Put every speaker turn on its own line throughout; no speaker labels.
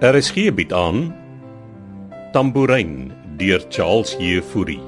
RSG bied Er aan Tambourin deur Charles Jefouri.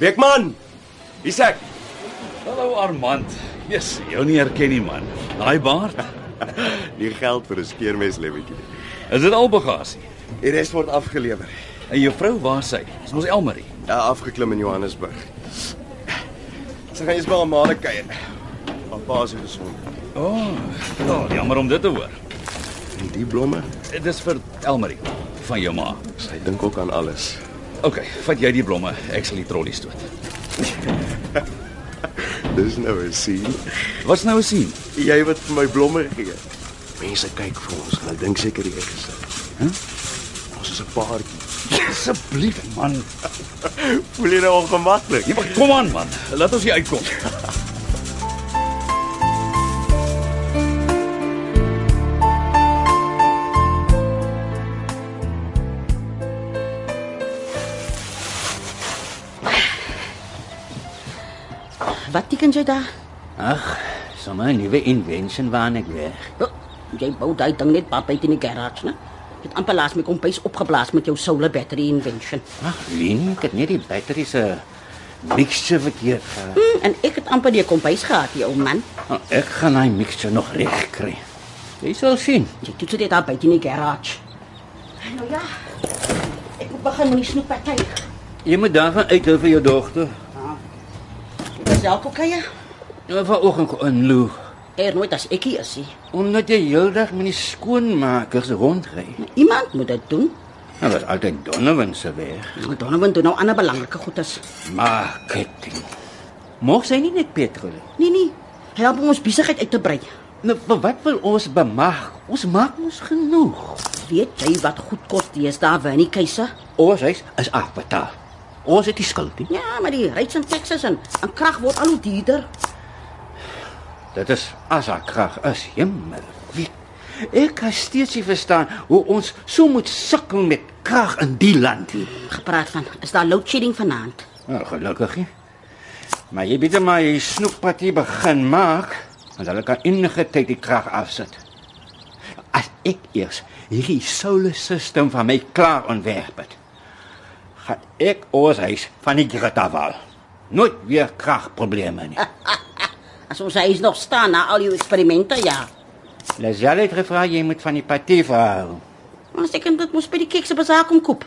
Beekman. Hier's ek.
Hallo Armand. Jesus, jou nie herken nie man. Daai baard.
Nie geld vir 'n skeermes lewetjie.
Is dit al bagasie?
Die res word afgelewer.
En jou vrou, waar is sy? Dis mos Elmarie.
Ja, afgeklim in Johannesburg. Sy gaan eers by haar ma se kuier. Haar pa is gesond.
O, oh, oh, jammer om dit te hoor.
En die blomme,
Dit is vir Elmarie van jou ma.
sy dink ook aan alles.
OK, vat jy die blomme, ek sal die trollie stoot.
Dis nou 'n sien.
Wat's nou 'n sien?
Jy wat vir my blomme gee. Mense kyk vir ons. Hulle dink seker jy is. Hm? Hæ? Ons is 'n paartjie.
Asseblief man.
Voel jy nou ongemaklik?
Nee, maar kom aan man. Laat ons hier uitkom.
Wat teken jy daar?
Ag, sommer 'n nuwe invention waarna ek werk.
Oh, jy bou daai ding net pad buite in die garage, né? Jy het amper laas my kompies opgeblaas met jou solar battery invention.
Ag, Lien, ek het net die battery se mixture verkeerd gehad.
Hm, en ek het amper die kompies gehad, jy ou man.
Nou, Ek gaan daai mixture nog reg kry. Jy sal sien.
Jy toets dit daar buite in die garage. Nou ja. Ek moet begin met die snoepparty.
Jy moet daarvan uithou vir jou dogter.
Dit is dalk oké. ja?
Nou vanoggend inloop
Er nooit as ek hier is. nie.
omdat jy heeldag met die skoonmakers rondry.
Maar Iemand moet dit doen.
Dit was altyd Donovan se weg.
Nou, Donovan doen nou ander belangrike goedes.
Marketing. Moeg sy nie net petrol.
Nee
nie?
nee. Help om ons besigheid uit te brei.
Nou, vir wat wil ons bemag? Ons maak ons genoeg.
Weet jy wat goed kos deesdae vir 'n keiser?
Ons huis is afbetaal. Ons het die skuld nie.
Ja, maar die rates en taxes en, en krag word al hoe duurder.
Dit is as haar krag is hemel. Wie ek kan steeds nie verstaan hoe ons so moet sukkel met krag in die land hier.
Gepraat van, is daar load shedding vanaand?
Nou, gelukkig nie. Maar jy bietjie maar jy snoepparty begin maak, want hulle kan enige tyd die krag afsit. As ek eers hierdie solarstelsel van my klaar ontwerp het, gaan ek ons huis van die Gretawal. Nooit weer kragprobleme nie.
As ons huis nog staan na al die eksperimente, ja.
Lazelle het gevra jy moet van die party verhou.
Ons ek kan dit mos by die kekse bazaar kom koop.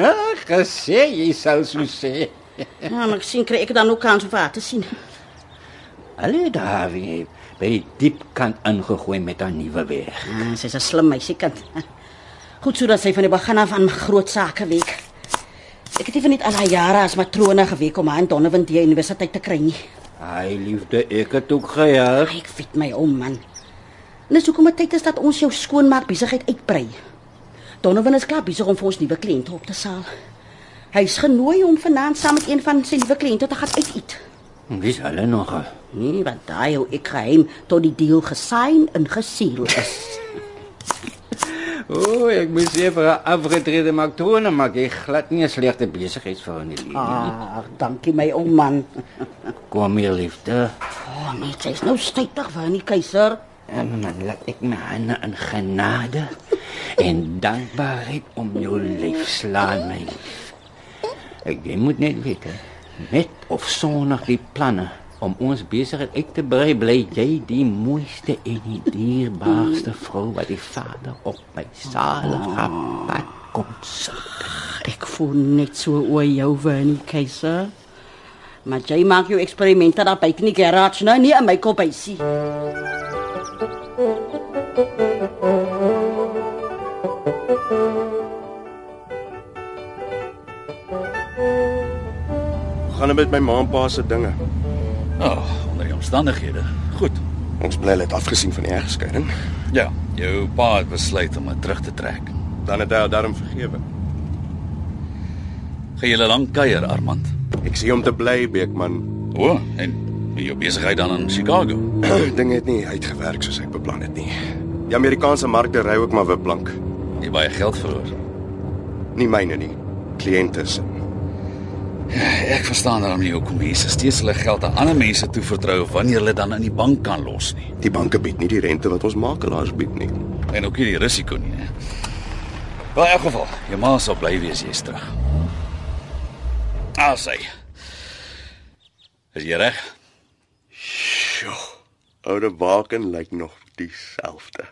Ag, gesê jy sou so sê.
Ja, maar ek sien kry ek dan ook kans om haar te sien.
Hulle het daar weer by die diepkant ingegooi met haar nuwe weg.
Ah, sy's 'n slim meisiekind. Goed sodat sy van die begin af aan groot sake week. Ek het nie net al haar jare as matrone geweek om haar in Donovan die universiteit te kry nie.
Ai liefde, ek het ook gehelp.
Ag, ek weet my om man. En dis hoekom dit tyd is dat ons jou skoonmaak besigheid uitbrei. Donovan is klaar besig om vir ons nuwe kliënte op te saal. Hy's genooi om vanaand saam met een van sy nuwe kliënte te gaan uit-eet.
Wie's hulle nog?
Nee, want daai hou ek geheim tot die deal gesyn en gesiel is.
O, oh, ek moes eers vir 'n afgetrede matrone maak. Jy glad nie 'n slegte besigheidsvrou in die lewe. Ah.
Ag, dankie my ou man.
Kom hier liefde.
Oh, nee, sy's nou stytig van die keiser.
En dan laat ek my hande in genade en dankbaarheid om jou lyf slaan my. lief. Ek jy moet net weet, hè, met of sonder die planne om ons besigheid uit te brei, bly jy die mooiste en die dierbaarste vrou wat die Vader op my salige pad kom sit.
Ek voel net so oor jou van die keiser. Maar jy maak jou eksperimente daar buite in die garage, nou nie in my kop hy sien.
Gaan dit met my ma en pa se dinge.
O, oh, onder die omstandighede. Goed.
Ons bly hulle het afgesien van die egskeiding.
Ja, jou pa het besluit om dit terug te trek.
Dan het hy haar daarom vergewe.
Gaan julle lank kuier Armand.
Ek sê om te bly, Beekman.
O, oh, en jou besigheid dan in Chicago.
Ding het nie uitgewerk soos ek beplan het nie. Die Amerikaanse markte ry ook maar weer blank.
Jy baie geld verloor.
Nie myne nie. Kliënte se.
Ek verstaan daarom nie hoekom mense steeds hulle geld aan ander mense toevertrou wanneer hulle dan in die bank kan los nie.
Die banke bied nie die rente wat ons makelaars bied nie.
En ook nie die risiko nie, hè. Wel in elk geval, jou ma sal bly wees jy's terug. Ah, sê. Is jy reg?
Sjoe. Oude Baken lyk nog dieselfde.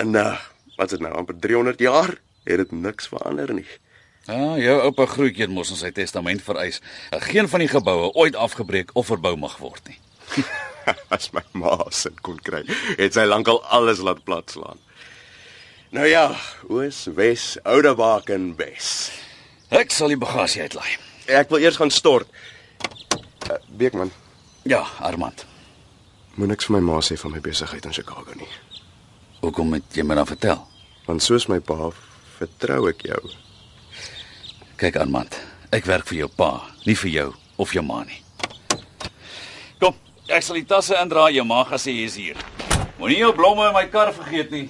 En uh, wat is dit nou amper 300 jaar? Het dit niks verander nie.
Ja, jou oupa Groetjie het mos in sy testament vereis dat geen van die geboue ooit afgebreek of verbou mag word nie.
As my ma sin kon kry, het sy lankal alles laat platslaan. Nou ja, oos, wes, Oude Baken wes.
Ek sal die bagasie uitlaai.
Ja, Ek wil eers gaan stort. Uh, Beekman,
Ja, Armand.
moet niks vir my ma sê van my besigheid in Chicago nie.
Hoekom moet jy my dan vertel?
Want soos my pa, vertrou ek jou.
Kyk Armand, ek werk vir jou pa, nie vir jou of jou ma nie. Kom, ek sal die tasse indra, jou ma gaan sê jy is hier. Moenie jou blomme in my kar vergeet nie.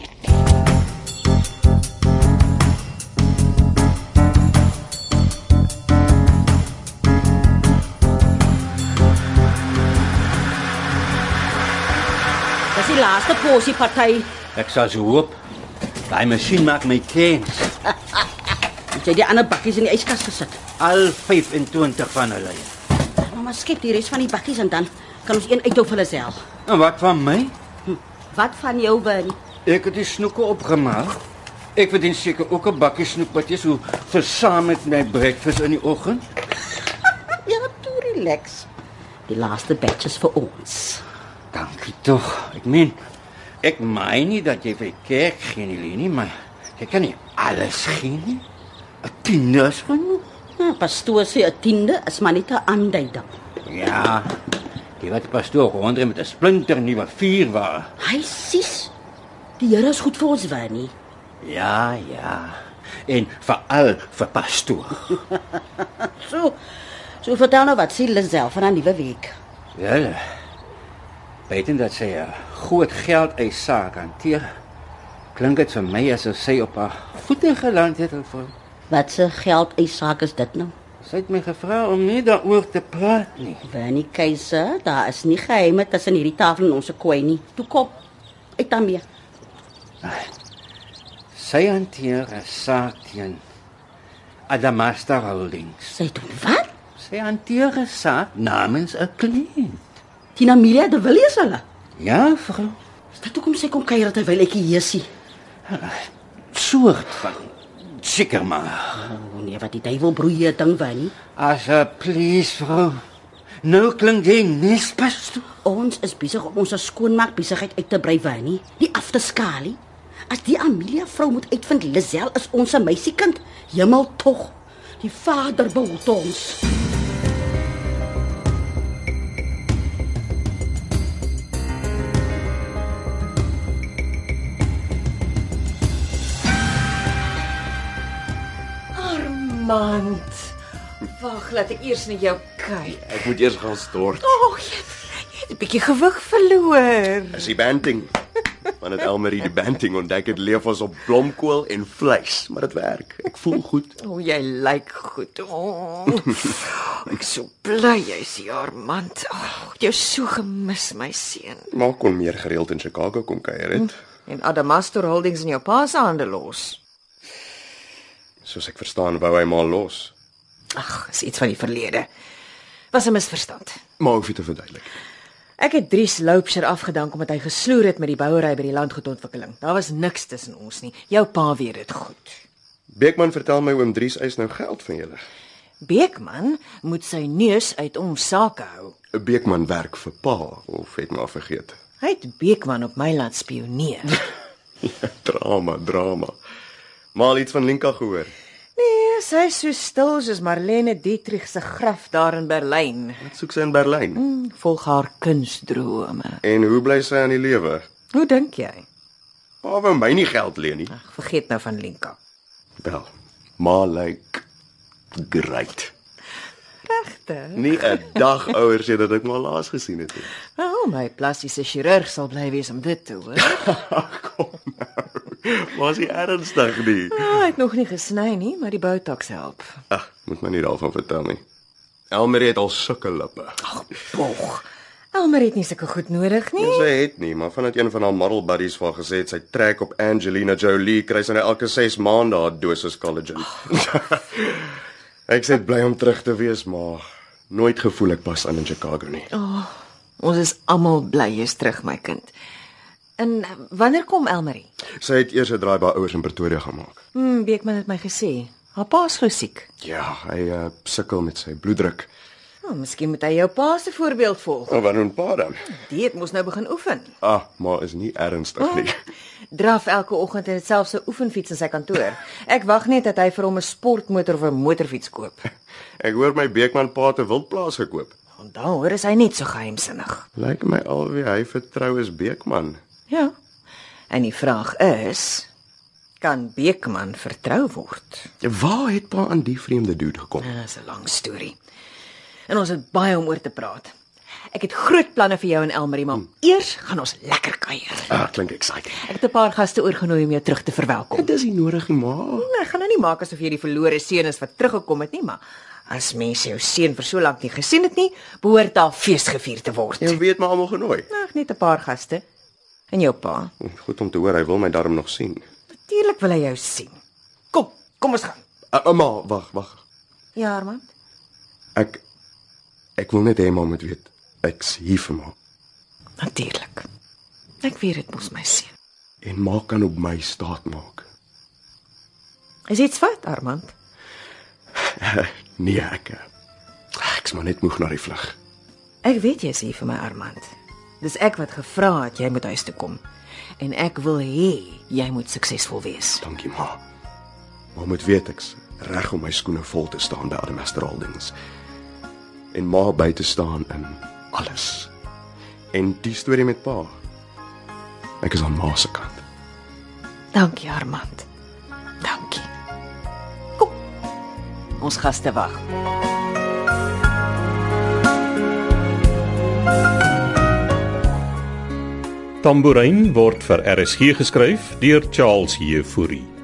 Dis die laaste posie party.
Ek sal so hoop. Daai masjien maak my kans.
Het jy die ander bakkies in die yskas gesit?
Al 25 van hulle.
Nou maar skep die res van die bakkies en dan kan ons een uithou vir hulle self.
En wat van my?
Wat van jou Bernie?
Ek het die snoeke opgemaak. Ek verdien seker ook 'n bakkie snoek wat jy so versaam met my breakfast in die oggend.
Ja, toe relax. Die laaste batches vir ons.
Dankie tog. Ek meen, ek meen nie dat jy vir die kerk gee nie, Leni, maar jy kan nie alles gee nie. 'n Tieners genoeg.
Ja, pastoor sê 'n tiende is maar net 'n aanduiding.
Ja. Die wat pastoor rondre met 'n splinter nuwe vuur waren.
Hy sies. Die Here is goed vir ons, Bernie.
Ja, ja. En veral vir pastoor.
So. So vertel nou wat sê Lisel van 'n nuwe week.
Wel. Weten Ja, dat sy 'n groot geldeis saak hanteer. Klink dit vir my asof sy op haar voete geland het of
Wat se geld eis saak is dit nou?
sy het my gevra om nie daaroor te praat nie.
Bernie Keiser, daar is nie geheime tussen hierdie tafel en ons koei nie. Toe kom. Uit daarmee.
Sy hanteer 'n saak teen Adamasta Holdings.
Sy doen wat?
Sy hanteer 'n saak namens 'n kliënt.
Tina Milia de Villiers hulle.
Ja, vrou.
Is dit hoekom sy kom kuier terwyl ek hier sien?
Soort van seker maar.
Oh nee, wat die duiwel broeie ding van nie.
Asseblief, vrou. Nou klink jy nes pastoor.
Ons is besig om ons skoonmaak besigheid uit te brei van nie. Die af te skalie. As die Amelia vrou moet uitvind Lisel is ons se meisiekind. Hemel tog. Die Vader behoed ons.
Armand. Wag, laat ek eers na jou kyk.
Ek moet eers gaan stort.
O, oh, jy jy het 'n bietjie gewig verloor.
Is die banting. Want dit Elmarie die banting ontdek het leef ons op blomkool en vleis, maar dit werk. Ek voel goed.
O, oh, jy lyk goed. O. Oh, ek is so bly jy's hier, Armand. O, oh, jou so gemis, my seun.
Maar kon meer gereeld in Chicago kom kuier het.
En Adamastor Holdings in jou pa se hande los.
Soos ek verstaan wou hy maar los.
Ag, is iets van die verlede. Was 'n misverstand.
Maar hoef dit te verduidelik.
Ek het Dries Loupsher afgedank omdat hy gesloer het met die bouery by die landgoedontwikkeling. Daar was niks tussen ons nie. Jou pa weet dit goed.
Beekman vertel my oom Dries eis nou geld van julle.
Beekman moet sy neus uit ons sake hou.
Beekman werk vir pa of het maar vergeet.
Hy het Beekman op my laat spioneer.
drama, drama. Maar al iets van Linka gehoor.
nee, sy is so stil soos Marlene Dietrich se graf daar in Berlyn.
Wat soek sy in Berlyn?
Volg haar kunstdrome.
En hoe bly sy aan die lewe?
Hoe dink jy?
Pa wou my nie geld leen nie.
Ag, vergeet nou van Linka.
Wel, ma lyk great.
Regte?
Nie 'n dag ouer sê dat ek maar laas gesien het nie.
Wel, Al my plastiese chirurg sal bly wees om dit te hoor.
nou. Was hy ernstig nie?
Ah, hy het nog nie gesny nie, maar die botox help.
Ag, moet my nie daarvan vertel nie. Elmarie het al sulke lippe.
Bog. Elmer het nie sulke goed nodig nie.
Sy het nie, maar vandat een van haar model buddies vir haar gesê het sy trek op Angelina Jolie, kry sy nou elke 6 maande haar dosis collagen. ek sê bly om terug te wees, maar nooit gevoel ek pas aan in Chicago nie.
Ons is almal bly jy's terug, my kind. En eh, wanneer kom Elmarie?
Sy het eers 'n draai by ouers in Pretoria gemaak.
Hm, Beekman het my gesê. Haar pa is gou siek.
Ja, hy uh, sukkel met sy bloeddruk.
Oh, miskien moet hy jou pa se voorbeeld volg.
Oh, wat doen pa dan?
Die het mos nou begin oefen.
Ah, maar is nie ernstig nie.
Oh. Draf elke oggend en het selfs 'n oefenfiets in sy kantoor. Ek wag net dat hy vir hom 'n sportmotor of 'n motorfiets koop.
Ek hoor my Beekman pa te wildplaas gekoop.
Want dan hoor is hy net so geheimsinnig.
Lyk my alweer hy vertrou is Beekman.
Ja. En die vraag is, kan Beekman vertrou word?
Waar het pa aan die vreemde dude gekom?
Ja, Dis 'n lang storie. En ons het baie om oor te praat. Ek het groot planne vir jou en Elmarie, maar eers gaan ons lekker kuier.
Ah, klink exciting.
Ek het 'n paar gaste oorgenooi om jou terug te verwelkom.
Dit is nie nodig nie, ma.
Nee, ek gaan nou nie maak asof jy die verlore seun is wat teruggekom het nie, maar as mense jou seun vir so lank nie gesien het nie, behoort daar fees gevier te word.
Jy weet maar almal genooi.
Ag, net 'n paar gaste. En jou pa.
Goed om te hoor hy wil my darm nog sien.
Natuurlik wil hy jou sien. Kom, kom ons gaan.
Uh, ma, wag, wag.
Ja, Armand.
Ek ek wil net hê ma moet weet ek's hier vir ma
Natuurlik. Ek weet dit mos my seun.
en ma kan op my staat maak.
Is iets fout, Armand?
Nee, ek eh, ek's maar net moeg na die vlug.
Ek weet jy's hier vir my Armand. Dis ek wat gevra het jy moet huis toe kom. En ek wil hê jy moet suksesvol wees.
Dankie ma. Ma moet weet ek's reg om my skoene vol te staan by Adamastraldings en ma by te staan in alles. En die storie met pa. Ek is aan ma se kant.
Dankie Armand. Dankie. Kom. Ons gaste wag.
Tambourin word vir RSG geskryf deur Charles Heffury.